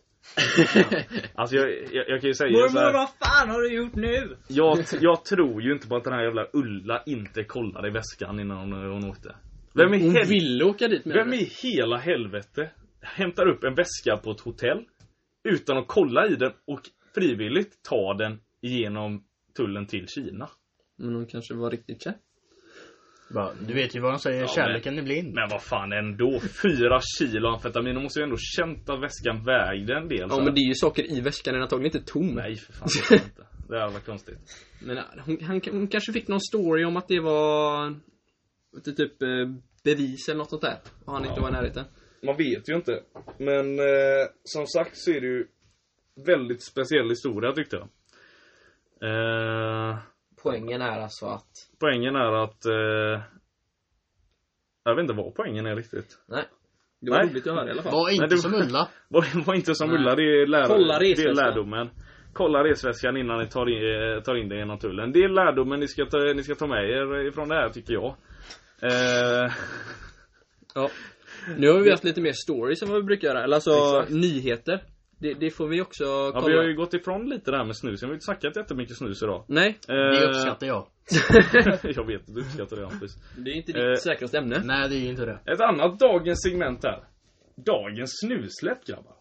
Speaker 2: Alltså jag, jag, jag kan ju säga så
Speaker 3: Mormor,
Speaker 2: här,
Speaker 3: vad fan har du gjort nu?
Speaker 2: jag, jag tror ju inte på att den här jävla Ulla inte kollade i väskan innan hon, hon åkte. Vem i
Speaker 1: Hon
Speaker 2: helvete
Speaker 1: ville åka dit med
Speaker 2: Vem i hela helvete hämtar upp en väska på ett hotell utan att kolla i den och frivilligt tar den genom tullen till Kina?
Speaker 1: Men hon kanske var riktigt kär.
Speaker 4: Bara, Du vet ju vad de säger,
Speaker 2: Ja,
Speaker 4: kärleken är blind.
Speaker 2: Men vad fan ändå, fyra kilo amfetamin. De måste ju ändå känt att väskan vägde en del.
Speaker 1: Ja men det är ju saker i väskan, den är antagligen inte tom.
Speaker 2: Nej för fan, det är inte. Det här var konstigt.
Speaker 1: Men äh, hon, han, hon kanske fick någon story om att det var vet du, typ eh, bevis eller något sånt där. Och han inte var i närheten.
Speaker 2: Man vet ju inte. Men eh, som sagt så är det ju väldigt speciell historia tyckte jag. Eh,
Speaker 5: Poängen är alltså att...
Speaker 2: poängen är att... Eh, jag vet inte vad poängen är riktigt.
Speaker 5: Nej.
Speaker 1: Det var
Speaker 2: Nej.
Speaker 1: roligt att höra i alla fall.
Speaker 4: Var inte
Speaker 2: Men det-
Speaker 4: som Ulla.
Speaker 2: Var, var inte som
Speaker 1: Nej.
Speaker 2: Ulla, det är, lär,
Speaker 1: Kolla
Speaker 2: det är
Speaker 1: resväskan.
Speaker 2: lärdomen. Kolla resväskan innan ni tar in, eh, tar in det genom tullen. Det är lärdomen ni ska ta, ni ska ta med er ifrån det här tycker jag. Eh,
Speaker 1: Ja. Nu har vi haft lite mer stories än vad vi brukar göra. Eller alltså
Speaker 2: Exakt.
Speaker 1: nyheter. Det, det får vi också
Speaker 2: Ja,
Speaker 1: kolla.
Speaker 2: vi har ju gått ifrån lite det här med snus. Vi har ju inte snackat jättemycket snus idag. Eh,
Speaker 1: Nej,
Speaker 4: Det uppskattar jag.
Speaker 2: jag vet att du uppskattar det Hampus.
Speaker 1: det är inte ditt
Speaker 2: Eh.
Speaker 1: säkraste ämne.
Speaker 4: Nej, det är ju inte det.
Speaker 2: Ett annat dagens segment här. Dagens snusläpp grabbar.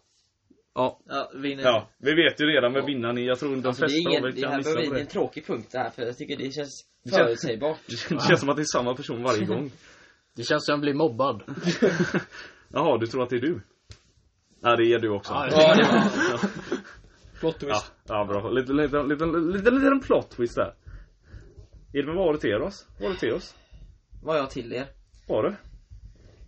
Speaker 1: Ja.
Speaker 3: Ja, vinner.
Speaker 2: Ja, vi vet ju redan vem vinnaren är. Jag tror de
Speaker 5: Alltså, det, är
Speaker 2: flesta
Speaker 5: ingen,
Speaker 2: av er
Speaker 5: det
Speaker 2: kan
Speaker 5: här
Speaker 2: gissa
Speaker 5: behöver
Speaker 2: på
Speaker 5: bli en
Speaker 2: det.
Speaker 5: tråkig punkt det här för jag tycker det känns
Speaker 2: känns-
Speaker 5: förutsägbart.
Speaker 2: Det känns som att det är samma person varje gång.
Speaker 4: Det känns som jag blir mobbad.
Speaker 2: Jaha, du tror att det är du? Ja, det är du också.
Speaker 4: Ja,
Speaker 5: Ja, det var-
Speaker 1: Plot
Speaker 2: Ja,
Speaker 1: twist.
Speaker 2: ja bra. Lite, lite, lite, lite, lite en plot twist där. Edvin, vad var det till oss? Var det till oss?
Speaker 5: Vad har jag till er?
Speaker 2: Var det?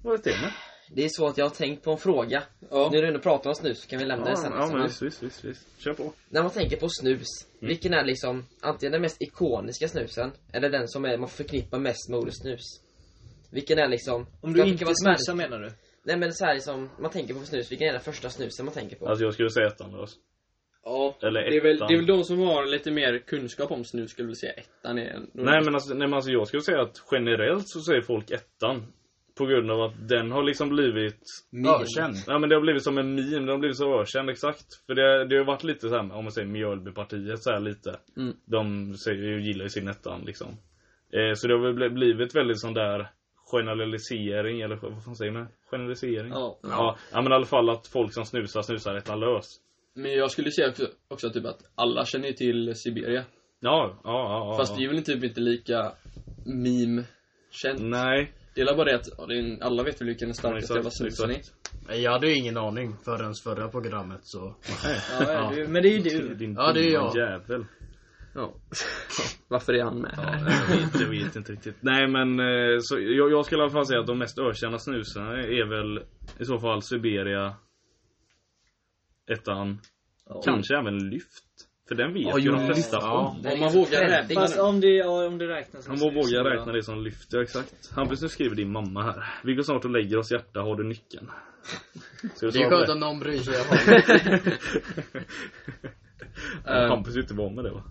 Speaker 2: Var det till mig?
Speaker 5: Det är så att jag har tänkt på en fråga. Nu när du ändå pratar om snus så kan vi lämna det sen.
Speaker 2: ja
Speaker 5: Så
Speaker 2: men
Speaker 5: man-
Speaker 2: visst, visst, visst, visst. Kör på.
Speaker 5: När man tänker på snus, vilken är liksom antingen den mest ikoniska snusen eller den som är, man förknippar mest med ordet snus? Vilken är liksom...
Speaker 3: Om
Speaker 5: för att
Speaker 3: du
Speaker 5: det
Speaker 3: inte
Speaker 5: kan vara ett
Speaker 3: snusar
Speaker 5: märke-
Speaker 3: menar du?
Speaker 5: Nej men så här liksom, man tänker på snus, vilken är den första snusen man tänker på?
Speaker 2: Alltså jag skulle säga ettan då.
Speaker 1: Ja.
Speaker 2: Eller
Speaker 1: Det är, väl,
Speaker 2: ettan.
Speaker 1: det är väl de som har lite mer kunskap om snus skulle jag vilja säga. Ettan är en...
Speaker 2: Nej men, alltså, nej men alltså jag skulle säga att generellt så säger folk ettan. På grund av att den har liksom blivit
Speaker 4: Ökänd.
Speaker 2: Ja men det har blivit som en meme, den har blivit så ökänd exakt. För det, det har varit lite såhär, om man säger Mjölbypartiet så här lite.
Speaker 1: Mm.
Speaker 2: De säger, ju- gillar ju sin ettan liksom. Eh, så det har väl bli- blivit väldigt sån där generalisering eller vad fan säger man? Generalisering?
Speaker 3: Ja.
Speaker 2: Ja, ja men i alla fall att folk som snusar snusar ettan lös.
Speaker 1: Men jag skulle säga också, också typ att alla känner ju till Siberia.
Speaker 2: Ja, ja, ja. ja
Speaker 1: Fast det är väl typ inte lika meme-känt.
Speaker 2: Nej.
Speaker 1: Det är väl bara det att ja, det är en, alla vet väl vilken den starkaste
Speaker 2: exakt,
Speaker 1: jävla snusen är.
Speaker 2: exakt.
Speaker 4: Jag hade ju ingen aning förrän förra programmet så.
Speaker 3: Ja, ja, du, men det är ju du.
Speaker 2: Din
Speaker 4: Ja, det är
Speaker 2: dumma
Speaker 4: jag.
Speaker 2: jävel.
Speaker 1: Ja. Varför är han med här?
Speaker 2: Jag vet, jag vet inte riktigt. Nej men eh, så jag, jag skulle i alla fall säga att de mest ökända snusarna är väl i så fall Siberia. Ettan. Kanske även Lyft. För den vet ju de flesta
Speaker 4: ja.
Speaker 2: på.
Speaker 5: Den
Speaker 1: Om
Speaker 5: är
Speaker 1: man
Speaker 5: liksom
Speaker 1: vågar
Speaker 5: trendig.
Speaker 1: räkna
Speaker 3: Fast om det, ja, om det räknas som
Speaker 2: Han må
Speaker 3: snus,
Speaker 2: våga
Speaker 3: så-
Speaker 2: räkna det som lyft, ja exakt. Hampus nu skriver din mamma här. Vi går snart och lägger oss hjärta, har du nyckeln? Ska du
Speaker 4: Det är
Speaker 2: svara på
Speaker 4: skönt om någon bryr sig. i alla fall.
Speaker 2: det? Hampus är inte van med det va?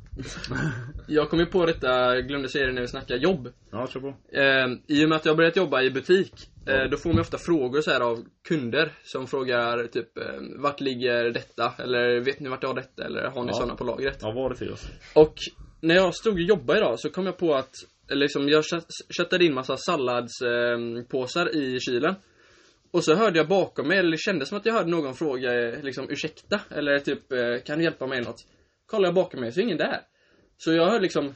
Speaker 1: Jag kom ju på detta, jag glömde säga det när vi snackade jobb.
Speaker 2: Ja, kör på.
Speaker 1: Eh, I och med att jag har börjat jobba i butik, eh, då får man ju ofta frågor så här av kunder som frågar typ eh, Vart ligger detta? Eller vet ni vart jag har detta? Eller har ni
Speaker 2: Ja.
Speaker 1: sådana på lagret?
Speaker 2: Ja, var det till oss?
Speaker 1: Och när jag stod och jobbade idag så kom jag på att eller liksom, jag kö- köttade in massa salladspåsar eh, påsar i kylen. Och så hörde jag bakom mig, eller det kändes som att jag hörde någon fråga eh, liksom ursäkta, eller typ eh, kan du hjälpa mig med något? Kollar jag bakom mig så är ingen där. Så jag hör liksom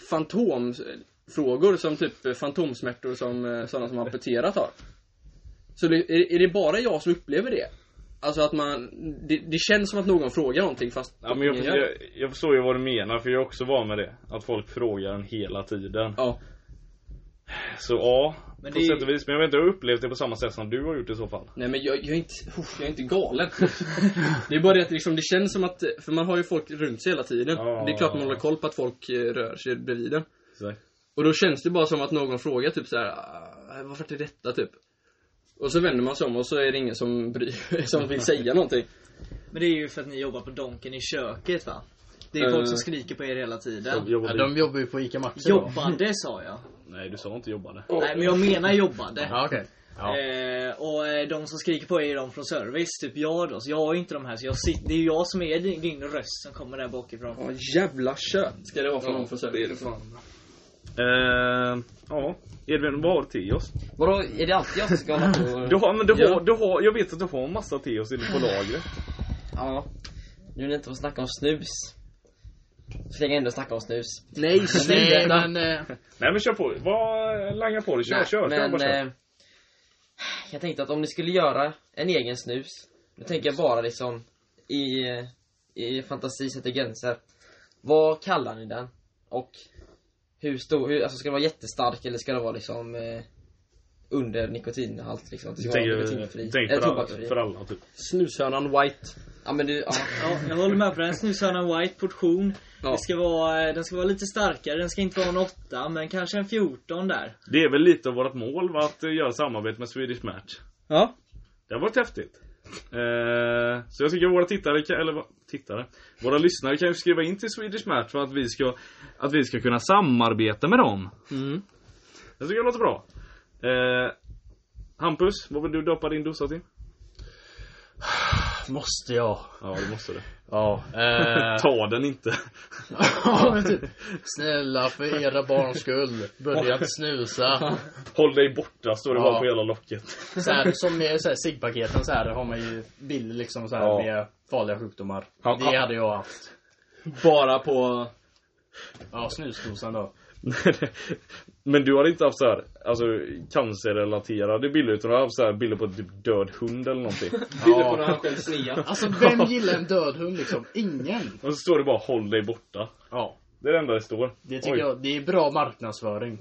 Speaker 1: fantomfrågor som typ eh, fantomsmärtor som eh, sådana som amputerat har. Så det, är, är det bara jag som upplever det? Alltså att man, det, det känns som att någon frågar någonting fast
Speaker 2: Ja, men jag,
Speaker 1: ingen gör det.
Speaker 2: jag, jag förstår ju vad du menar, för jag är också van med det. Att folk frågar en hela tiden.
Speaker 1: Ja.
Speaker 2: Så ja,
Speaker 3: Men
Speaker 2: på
Speaker 3: det är-
Speaker 2: sätt och vis. Men jag vet inte, jag har upplevt det på samma sätt som du har gjort i så fall.
Speaker 1: Nej men jag, jag, är inte, uff, jag är inte galen. det är bara det att liksom, det känns som att, för man har ju folk runt sig hela tiden.
Speaker 2: Ja.
Speaker 1: Det är klart man håller koll på att folk eh, rör sig bredvid en.
Speaker 2: Så.
Speaker 1: Och då känns det bara som att någon frågar typ så här, "Ah, varför är detta typ? Och så vänder man sig om och så är det ingen som, bryr, som vill säga någonting.
Speaker 3: Men det är ju för att ni jobbar på Donken i köket va? Det är ju folk
Speaker 1: Eh.
Speaker 3: som skriker på er hela tiden.
Speaker 2: Jobbade...
Speaker 4: Ja, de jobbar ju på ICA Maxi då.
Speaker 3: Jobbade sa jag.
Speaker 2: Nej, du sa inte jobbade.
Speaker 3: Nej men jag menar jobbade.
Speaker 4: Ja, okej. Ja.
Speaker 3: Eh, och eh, de som skriker på er är de från service, typ jag då. Så jag har ju inte de här, så jag sitter, det är ju jag som är din, din röst som kommer där bakifrån.
Speaker 1: Ja jävla kött ska det vara för någon för service.
Speaker 2: Eh, ja, Edvin, vad har du till oss?
Speaker 5: Vadå, är det alltid jag som ska hålla på
Speaker 2: Du
Speaker 5: och...
Speaker 2: har, men du
Speaker 1: Ja.
Speaker 2: har, du har, jag vet att du har massa till oss inne på lagret.
Speaker 5: Ja. Nu när det inte får snacka om snus. Så tänker jag ändå snacka om snus.
Speaker 1: Nej,
Speaker 4: Nej, men... eh,
Speaker 2: Nej men kör på, vad, langa på det, kör,
Speaker 5: Nej,
Speaker 2: kör, kör,
Speaker 5: men,
Speaker 2: bara kör.
Speaker 5: eh, Jag tänkte att om ni skulle göra en egen snus. Nu tänker jag bara liksom i, eh, i fantasi sätter gränser. Vad kallar ni den? Och hur stor, hur, alltså ska den vara jättestark eller ska den vara liksom eh, under nikotinhalt liksom? Det ska vara nikotinfri.
Speaker 2: tänk
Speaker 5: Eller
Speaker 2: för, alla,
Speaker 5: tobaksfri.
Speaker 2: för alla typ.
Speaker 1: Snushörnan white.
Speaker 5: Ja men du, ja.
Speaker 3: Ja, jag håller med på den. Snushörnan White, portion.
Speaker 1: Ja.
Speaker 3: Det ska vara, eh, den ska vara lite starkare, den ska inte vara en 8 men kanske en 14 där.
Speaker 2: Det är väl lite av vårt mål va, att eh, göra samarbete med Swedish Match.
Speaker 1: Ja.
Speaker 2: Det har varit häftigt. Eh, så jag tycker våra tittare, kan, eller vad- tittare, våra lyssnare kan ju skriva in till Swedish Match för att vi ska, att vi ska kunna samarbeta med dem.
Speaker 1: Mm.
Speaker 2: Jag tycker det låter bra. Eh, Hampus, vad vill du döpa din dosa till?
Speaker 4: Måste jag?
Speaker 2: Ja, det måste det.
Speaker 4: Ja. Eh,
Speaker 2: Ta den inte.
Speaker 4: ja, men typ. Snälla för era barns skull. Börja att snusa.
Speaker 2: Håll dig borta, står det
Speaker 4: Ja.
Speaker 2: bara på hela locket.
Speaker 4: Så här, som med så här ciggpaketen så här har man ju bilder liksom så här
Speaker 2: Ja.
Speaker 4: med farliga sjukdomar.
Speaker 2: Ja,
Speaker 4: det
Speaker 2: ja.
Speaker 4: hade jag haft.
Speaker 1: Bara på...
Speaker 4: Ja, snusdosan då.
Speaker 2: Men du har inte haft så här, alltså cancerrelaterade bilder utan du har haft så här bilder på typ död hund eller någonting.
Speaker 5: Bilder på när han själv snear.
Speaker 4: Alltså vem gillar en död hund liksom? Ingen.
Speaker 2: Och så står det bara håll dig borta.
Speaker 4: Ja.
Speaker 2: Det är det enda det står.
Speaker 4: Det tycker
Speaker 2: Oj,
Speaker 4: jag, det är bra marknadsföring.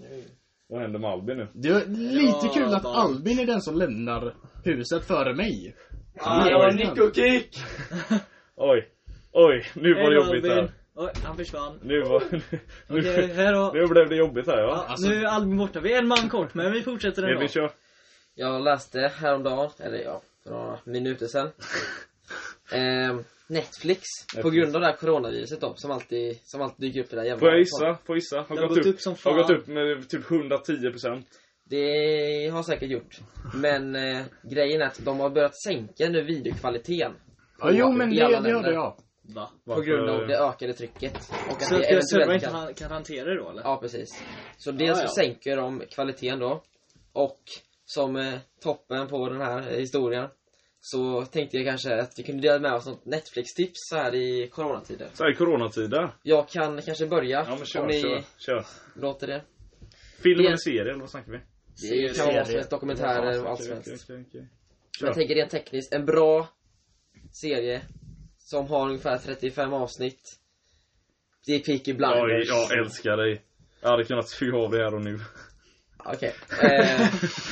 Speaker 2: vad händer med Albin nu?
Speaker 4: Det är lite
Speaker 3: Ja,
Speaker 4: kul att
Speaker 3: då.
Speaker 4: Albin är den som lämnar huset före mig.
Speaker 5: Ah, det var Nick och Kick!
Speaker 2: Oj. Oj, nu var det jobbigt här.
Speaker 3: Oj, han försvann. Eh,
Speaker 2: Nu var... Nu,
Speaker 3: Okej, hejdå.
Speaker 2: nu blev det jobbigt här
Speaker 3: Ja,
Speaker 2: ja.
Speaker 3: Nu är Albin borta. Vi är en man kort, men vi fortsätter ändå.
Speaker 2: Edvin kör.
Speaker 5: Jag läste häromdagen, eller ja, för några minuter sedan. Ehm, Netflix, på grund av det här coronaviruset då, som alltid, som alltid dyker upp i det där jävla...
Speaker 2: Får jag gissa? Får jag gissa? Har
Speaker 3: Det har
Speaker 2: gått
Speaker 3: gått
Speaker 2: upp.
Speaker 3: upp som
Speaker 2: Har
Speaker 3: fan.
Speaker 2: gått upp med typ 110%.
Speaker 5: Det har säkert gjort. Men eh, grejen är att de har börjat sänka nu videokvaliteten.
Speaker 4: Ja, jo men
Speaker 5: I
Speaker 4: det,
Speaker 5: alla
Speaker 4: det hörde
Speaker 5: länder.
Speaker 4: jag.
Speaker 3: Va?
Speaker 5: På grund av det ökade trycket. Och att
Speaker 3: Så
Speaker 5: det
Speaker 3: att servern
Speaker 5: eventuellt
Speaker 3: inte
Speaker 5: kan...
Speaker 3: han- kan hantera det då eller?
Speaker 5: Ja, precis. Så dels
Speaker 3: Ja, ja.
Speaker 5: så sänker de kvaliteten då. Och som eh, toppen på den här eh, historien. Så tänkte jag kanske att vi kunde dela med oss något Netflix-tips så här i coronatider.
Speaker 2: Så här i coronatider.
Speaker 5: Jag kan kanske börja.
Speaker 2: Ja men kör,
Speaker 5: om ni
Speaker 2: kör, kör.
Speaker 5: låter det.
Speaker 2: Film
Speaker 5: Det-
Speaker 2: eller serie eller vad snackar vi?
Speaker 5: Det kan vara vad som helst, dokumentärer och allt som
Speaker 2: Okej,
Speaker 5: helst.
Speaker 2: okej, okej, okej.
Speaker 5: Men jag tänker rent tekniskt, en bra serie som har ungefär 35 avsnitt. Det är Peaky
Speaker 2: Oj,
Speaker 5: Blinders.
Speaker 2: jag älskar dig. Jag hade kunnat suga av dig här och nu.
Speaker 5: Okej. Eh,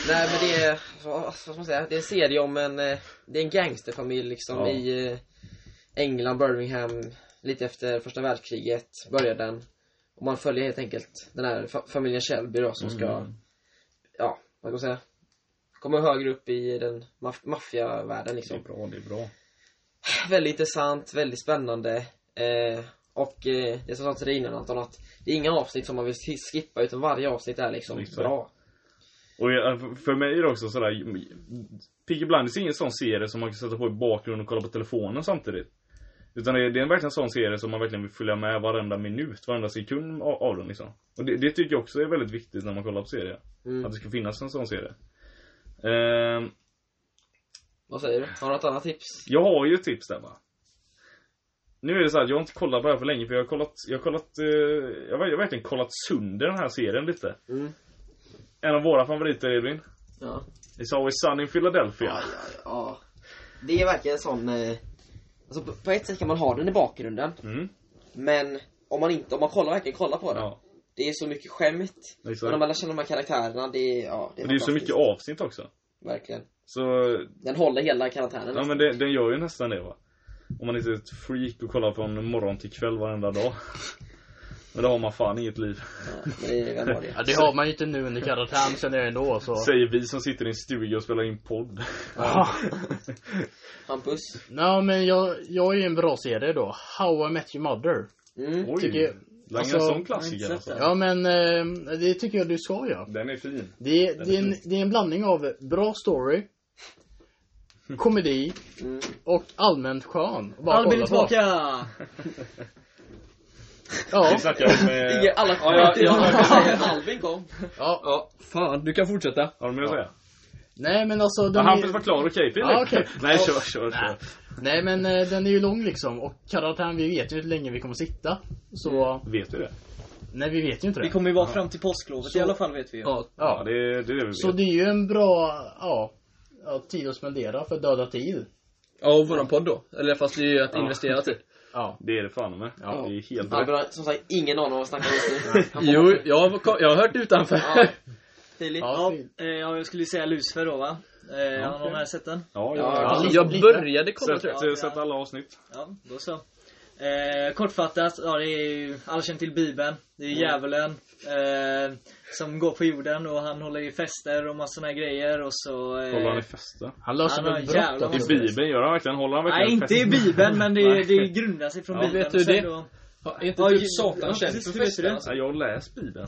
Speaker 5: nej men det är, vad vad ska man säga, det är en serie om en, eh, det är en gangsterfamilj liksom
Speaker 2: Ja.
Speaker 5: i eh, England, Birmingham, lite efter första världskriget började den. Och man följer helt enkelt den här fa- familjen Shelby då som ska,
Speaker 2: Mm.
Speaker 5: ja, vad ska man säga, komma högre upp i den maf- maffiavärlden
Speaker 2: Det är
Speaker 5: liksom.
Speaker 2: bra, det är bra.
Speaker 5: väldigt intressant, väldigt spännande. Eh, och eh, det som jag sa till dig innan Anton, att det är inga avsnitt som man vill skippa utan varje avsnitt är liksom
Speaker 2: Exakt.
Speaker 5: bra.
Speaker 2: Och jag, för mig är det också sådär Piggy Blinders är ingen sån serie som man kan sätta på i bakgrunden och kolla på telefonen samtidigt Utan det är, det är verkligen en sån serie som man verkligen vill följa med varenda minut, varenda sekund av, av den liksom Och det, det tycker jag också är väldigt viktigt när man kollar på serier Att
Speaker 5: Mm.
Speaker 2: det ska finnas en sån serie Ehm,
Speaker 5: Vad säger du? Har du något annat tips?
Speaker 2: Jag har ju ett tips där va Nu är det så här att jag har inte kollat på det här för länge för jag har kollat, jag har kollat, eh, jag har jag har verkligen kollat sönder den här serien lite
Speaker 5: Mm.
Speaker 2: En av våra favoriter Edvin
Speaker 5: Ja.
Speaker 2: It's always sun in Philadelphia
Speaker 5: Ja, ja, ja. Det är verkligen en sån... Eh, alltså på, på ett sätt kan man ha den i bakgrunden,
Speaker 2: Mm,
Speaker 5: men om man inte, om man kollar, verkligen kollar på den.
Speaker 2: ja
Speaker 5: Det är så mycket skämt, och
Speaker 2: Exakt.
Speaker 5: när man lär känna de här karaktärerna, det är, ja, det är
Speaker 2: Och det är ju så
Speaker 5: fantastiskt.
Speaker 2: mycket avsnitt också.
Speaker 5: Verkligen.
Speaker 2: Så,
Speaker 5: Den håller hela karaktären.
Speaker 2: ja men det, den gör ju nästan det va. Om man inte är ett freak och kollar från morgon till kväll varenda dag. Men då har man fan inget liv.
Speaker 5: Ja, men det är väl bra
Speaker 4: Ja,
Speaker 5: det.
Speaker 4: det har man ju inte nu under karantän känner jag ändå så.
Speaker 2: Säger vi som sitter i en stuga och spelar in podd.
Speaker 4: Ja.
Speaker 5: Hampus?
Speaker 4: Nej men jag, jag är ju en bra serie då. How I Met Your Mother.
Speaker 5: Mm.
Speaker 2: Oj!
Speaker 4: Tycker jag-
Speaker 2: Lange
Speaker 4: alltså,
Speaker 2: en sån
Speaker 3: jag
Speaker 2: klassiker
Speaker 3: har
Speaker 2: alltså.
Speaker 3: inte sett
Speaker 4: Ja men eh, det tycker jag du ska göra.
Speaker 2: Den är fin.
Speaker 4: Det är, det, är en, det är en blandning av bra story, komedi
Speaker 5: Mm.
Speaker 4: och allmänt skön. Bara
Speaker 3: Albin
Speaker 4: kolla
Speaker 3: är
Speaker 4: på.
Speaker 3: tillbaka!
Speaker 2: Vi
Speaker 4: Ja,
Speaker 2: snackade med...
Speaker 5: Alla
Speaker 1: Ja, ja, ja.
Speaker 5: Albin kom.
Speaker 4: ja.
Speaker 1: Ja, fan. Du kan fortsätta.
Speaker 2: Har du mer att säga?
Speaker 4: Nej men alltså
Speaker 2: Ja,
Speaker 4: den
Speaker 2: Hampus
Speaker 4: är,
Speaker 2: var klar, okej Filip?
Speaker 4: Ja, okej.
Speaker 2: Nej, kör,
Speaker 4: Nej.
Speaker 2: kör, kör.
Speaker 4: Nej men eh, den är ju lång liksom och karantän vi vet ju inte hur länge vi kommer sitta.
Speaker 1: Mm.
Speaker 4: Så,
Speaker 2: Vet du det?
Speaker 4: nej vi vet ju inte
Speaker 3: Vi
Speaker 4: det.
Speaker 3: kommer ju vara fram till påsklovet
Speaker 4: Så-
Speaker 3: i alla fall vet vi ju.
Speaker 1: Ja.
Speaker 2: Ja,
Speaker 4: Ja.
Speaker 2: det är det, är det vi
Speaker 4: Så
Speaker 2: vet.
Speaker 4: det är ju en bra, ja, ja tid att spendera för döda tid.
Speaker 1: Ja, och våran podd då. Eller fast det är ju att investera typ. tid.
Speaker 4: Ja.
Speaker 2: Det är det fan med.
Speaker 4: Ja.
Speaker 2: Det är helt
Speaker 5: Albin
Speaker 2: rätt.
Speaker 5: har som sagt ingen aning om vad han snackar om just nu. Han får-
Speaker 1: Jo, jag har, jag har hört utanför.
Speaker 5: Ja. Filip.
Speaker 4: Ja,
Speaker 3: Ja, eh, ja, jag skulle ju säga Lucifer då va? Eh, Har någon här sett den?
Speaker 2: Ja,
Speaker 5: Ja, alltså,
Speaker 2: ja.
Speaker 1: Jag började kolla tror jag.
Speaker 2: Sätt, eh, sätt alla avsnitt.
Speaker 3: Ja, då så. Eh, kortfattat, ja det är ju, alla känner till Bibeln. Det är djävulen eh, som går på jorden och han håller i fester och massa såna här grejer och så... Eh,
Speaker 2: Håller han i festa?
Speaker 4: Han löser
Speaker 3: Han
Speaker 4: väl
Speaker 3: har
Speaker 4: brott
Speaker 3: jävla
Speaker 4: också.
Speaker 2: I Bibeln gör han verkligen, håller han verkligen
Speaker 3: Nej, inte i
Speaker 2: fest?
Speaker 3: Bibeln men det,
Speaker 2: Nej.
Speaker 3: det grundar sig från
Speaker 2: Ja,
Speaker 3: Bibeln.
Speaker 1: vet du
Speaker 3: Och sen
Speaker 1: det?
Speaker 3: Då,
Speaker 5: Är inte
Speaker 3: Ja,
Speaker 5: typ
Speaker 3: ju-
Speaker 5: Satan
Speaker 3: ja,
Speaker 5: känd
Speaker 3: precis,
Speaker 5: för
Speaker 3: hur visste
Speaker 5: festen?
Speaker 3: du?
Speaker 5: Alltså?
Speaker 2: Ja, jag har läst Bibeln.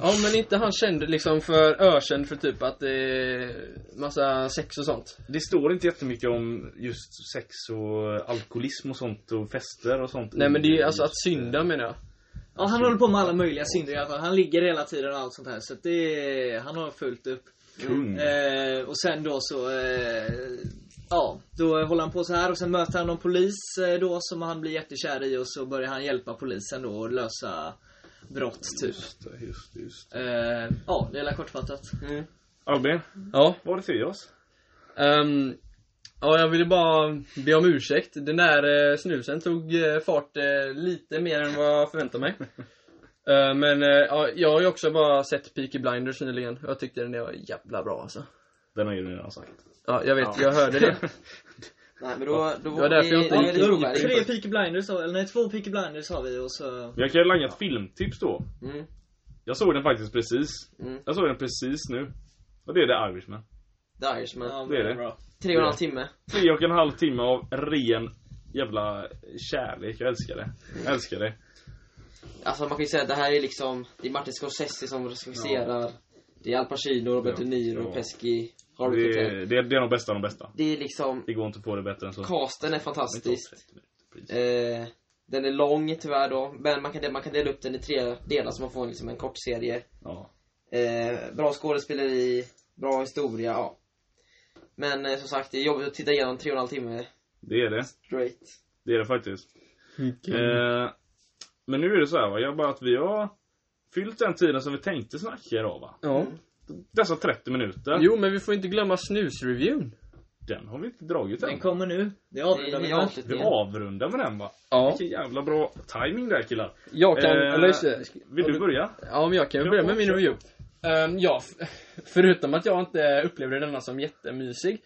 Speaker 1: Ja men inte han känd liksom för ökänd för typ att det är massa sex och sånt.
Speaker 2: Det står inte jättemycket om just sex och alkoholism och sånt och fester och sånt.
Speaker 1: Nej men det är ju alltså att synda menar jag.
Speaker 3: Ja, han håller på med alla möjliga synder i alla fall. Han ligger hela tiden och allt sånt här. Så att det, han har fullt upp.
Speaker 2: Kung.
Speaker 3: Eh, och sen då så, eh, ja, då håller han på så här och sen möter han någon polis eh, då som han blir jättekär i och så börjar han hjälpa polisen då och lösa brott typ.
Speaker 2: Just det, just det, just det.
Speaker 3: Eh, ja, det är väl kortfattat.
Speaker 2: Mm. Albin,
Speaker 1: Ja.
Speaker 2: vad har du till oss?
Speaker 1: Ehm, ja, jag ville bara be om ursäkt. Den där eh, snusen tog eh, fart eh, lite mer än vad jag förväntade mig. Eh, men eh, ja, jag har ju också bara sett Peaky Blinders nyligen. Jag tyckte den där var jävla bra alltså.
Speaker 2: Den har ju redan sagt.
Speaker 1: Ja, jag vet. Jag hörde det.
Speaker 5: Nej men då, då
Speaker 1: var därför jag inte
Speaker 5: då är
Speaker 1: gick
Speaker 5: det
Speaker 1: in.
Speaker 5: trovärdigt.
Speaker 3: Tre Peaky Blinders har eller nej två Peaky Blinders har vi och så...
Speaker 2: Jag kan ju langa ett filmtips då.
Speaker 5: Mm.
Speaker 2: Jag såg den faktiskt precis.
Speaker 5: Mm.
Speaker 2: Jag såg den precis nu. Och det är The Irishman.
Speaker 5: The Irishman.
Speaker 3: Ja,
Speaker 2: det är det.
Speaker 3: bra.
Speaker 5: Tre och en halv timme.
Speaker 2: Tre och en halv timme av ren jävla kärlek. Jag älskar det. Jag älskar det.
Speaker 5: Alltså man kan ju säga att det här är liksom, det är Martin Scorsese som regisserar. Det är Al Pacino, Robert
Speaker 2: Ja,
Speaker 5: De Niro,
Speaker 2: ja.
Speaker 5: Pesci, Harvey
Speaker 2: Det,
Speaker 5: Keitel.
Speaker 2: är- det, är- det är de bästa av de bästa.
Speaker 5: Det är liksom,
Speaker 2: Det går inte att få det bättre än så.
Speaker 5: casten är
Speaker 2: Det
Speaker 5: fantastisk.
Speaker 2: tar 30 minuter, precis.
Speaker 5: Eh, den är lång tyvärr då, men man kan, man kan dela upp den i tre delar så man får liksom en kort serie.
Speaker 2: Ja.
Speaker 5: Eh, bra skådespeleri, bra historia, ja. Men eh, som sagt, det är jobbigt att titta igenom tre och en halv timme
Speaker 2: Det är det.
Speaker 5: straight.
Speaker 2: Det är det faktiskt. Eh, men nu är det så här va. Jag bara att vi har fyllt den tiden som vi tänkte snacka idag va.
Speaker 1: Ja.
Speaker 2: Dessa 30 minuter.
Speaker 1: Jo, men vi får inte glömma snusreviewn.
Speaker 2: Den har vi inte dragit än.
Speaker 3: Den kommer nu. Det
Speaker 5: Det är
Speaker 3: avrundar vi
Speaker 5: i
Speaker 3: med.
Speaker 2: Vi
Speaker 5: avslutningen.
Speaker 2: avrundar med den va.
Speaker 1: Ja.
Speaker 2: Vilken jävla bra timing där killar.
Speaker 1: Jag kan...
Speaker 2: Eh,
Speaker 1: eller just det.
Speaker 2: Vill du börja?
Speaker 1: Ja, men jag kan ju börja med min review. Ehm, ja, f- förutom att jag inte upplevde denna som jättemysig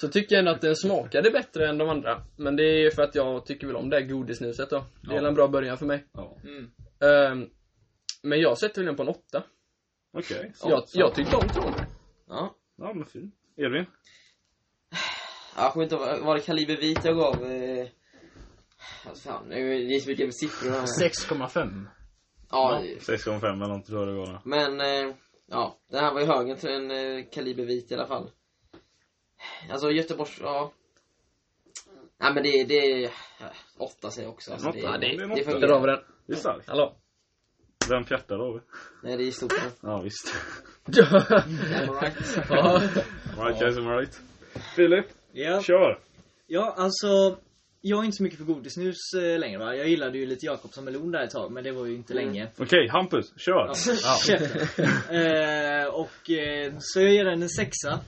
Speaker 1: så tycker jag ändå att den smakade bättre än de andra. Men det är för att jag tycker väl om det här godisnuset då. Det är
Speaker 2: Ja.
Speaker 1: en bra början för mig.
Speaker 2: Ja.
Speaker 1: Ehm, men jag sätter väl den på en åtta.
Speaker 2: Okej. så-
Speaker 1: Jag, jag tyckte om tron.
Speaker 5: Ja.
Speaker 2: Ja men fint. Edvin?
Speaker 5: Ja, jag kommer inte ihåg, var det Kaliber Vit jag gav? Eh, alltså, fan, nu- det är så mycket med siffror här.
Speaker 4: 6,5.
Speaker 5: Ja,
Speaker 2: 6,5 eller något tror jag det var.
Speaker 5: men eh, ja, det här var ju högen till en eh, Kaliber Vit i alla fall. Alltså Göteborgs, ja. Nej men det, det är eh, åtta säger jag också. Alltså,
Speaker 2: Åtta,
Speaker 1: Ja, det,
Speaker 2: det är en
Speaker 1: det,
Speaker 2: åtta.
Speaker 1: där har vi den.
Speaker 2: Det är starkt.
Speaker 1: Hallå.
Speaker 2: Vem fjärtar då?
Speaker 5: Nej det är stort.
Speaker 2: Ja visst.
Speaker 1: Ja.
Speaker 5: All right.
Speaker 1: Ja.
Speaker 2: All right guys, I'm right. Filip,
Speaker 3: Ja.
Speaker 2: kör!
Speaker 3: Ja, alltså. Jag är inte så mycket för godisnus eh, längre va. Jag gillade ju lite Jakobsson melon där ett tag men det var ju inte
Speaker 5: Mm.
Speaker 3: länge.
Speaker 2: Okej, Hampus, kör!
Speaker 3: Ja, käften. eh, och eh, så jag ger den en sexa.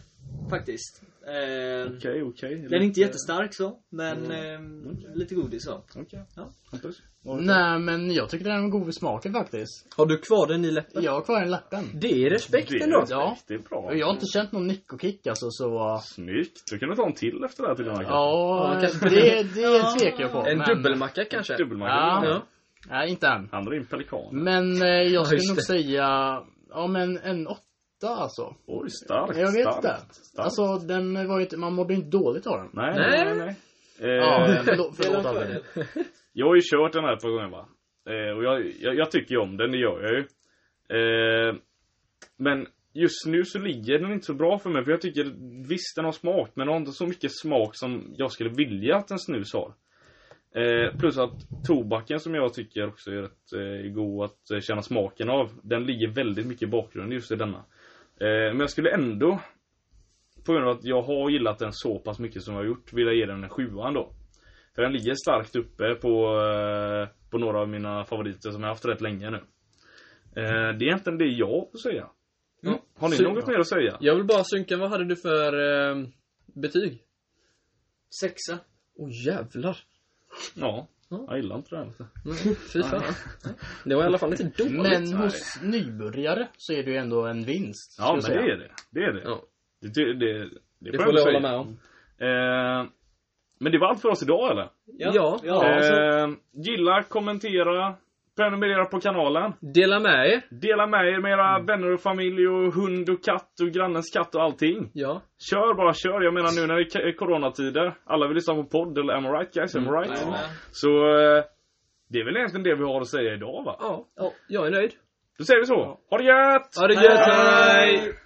Speaker 3: Faktiskt. Eh,
Speaker 2: Okej, okej.
Speaker 3: Den är inte jättestark så, men eh, lite godis så.
Speaker 2: Okej.
Speaker 3: Ja.
Speaker 2: Hampus?
Speaker 4: Nej men jag tyckte den var god i smaken faktiskt.
Speaker 1: Har du kvar den i läppen?
Speaker 4: Jag har kvar den lappen.
Speaker 1: Det är respekt
Speaker 2: Det är
Speaker 1: ändå.
Speaker 4: Ja.
Speaker 2: respekt, det är bra.
Speaker 4: Och jag har inte känt någon nickokick alltså så...
Speaker 2: Snyggt! Du kunde ta en till efter det här till och med.
Speaker 4: Ja,
Speaker 1: kanske-
Speaker 4: det, det tvekar jag på.
Speaker 1: En
Speaker 4: men-
Speaker 1: dubbelmacka kanske?
Speaker 2: Dubbelmacka.
Speaker 4: Ja.
Speaker 1: Ja.
Speaker 4: Nej, inte än.
Speaker 2: Han drar in pelikan.
Speaker 4: Men eh, jag skulle
Speaker 1: just
Speaker 4: nog
Speaker 1: det.
Speaker 4: säga, ja men en åtta alltså.
Speaker 2: Oj, starkt.
Speaker 4: Jag vet
Speaker 2: starkt,
Speaker 4: inte.
Speaker 2: Starkt.
Speaker 4: Alltså den var ju inte, man mådde ju inte dåligt av den.
Speaker 2: Nej,
Speaker 1: Nej.
Speaker 2: nej, nej. Eh,
Speaker 4: Ja, förlåt, förlåt Albin.
Speaker 2: Jag har ju kört den här ett par gånger va. Eh, och jag, jag, jag tycker ju om den, det gör jag ju. Eh, men just nu så ligger den inte så bra för mig. För jag tycker visst den har smak. Men den har inte så mycket smak som jag skulle vilja att en snus har. Eh, plus att tobaken som jag tycker också är rätt eh, god att eh, känna smaken av. Den ligger väldigt mycket i bakgrunden just i denna. Eh, men jag skulle ändå. På grund av att jag har gillat den så pass mycket som jag har gjort. Vilja ge den en sjua ändå. För den ligger starkt uppe på, eh, på några av mina favoriter som jag haft rätt länge nu. Eh, Det är egentligen det jag har att säga.
Speaker 1: Mm.
Speaker 2: Har ni
Speaker 1: Så-
Speaker 2: något mer att säga?
Speaker 1: Jag vill bara synka, vad hade du för eh, betyg?
Speaker 3: Sexa.
Speaker 1: Åh jävlar.
Speaker 2: Ja.
Speaker 1: Ja.
Speaker 2: Jag gillar inte det här.
Speaker 1: Mm. Fy fan. Det var i alla fall inte dåligt.
Speaker 4: Men hos nybörjare så är det ju ändå en vinst.
Speaker 2: Ja, men
Speaker 4: skulle jag
Speaker 2: det
Speaker 4: säga.
Speaker 2: är det. Det är det.
Speaker 1: Ja.
Speaker 2: Det, det, det,
Speaker 1: det
Speaker 2: jag
Speaker 1: får jag
Speaker 2: säga.
Speaker 1: hålla med om.
Speaker 2: Eh, Men det var allt för oss idag eller?
Speaker 1: Ja.
Speaker 3: ja. så-
Speaker 2: Eh, Gilla, kommentera, prenumerera på kanalen.
Speaker 1: Dela med er.
Speaker 2: Dela med er med era vänner och familj och hund och katt och grannens katt och allting.
Speaker 1: Ja.
Speaker 2: Kör bara, kör. Jag menar nu när det är k- coronatider. Alla vill lyssna på podd eller am I right guys, am I right?
Speaker 3: Jajamän.
Speaker 2: Så eh, Det är väl egentligen det vi har att säga idag va?
Speaker 1: Ja, jag är nöjd.
Speaker 2: Då säger vi så. Ha det gött!
Speaker 1: Ha det gött, hej!
Speaker 2: Hej!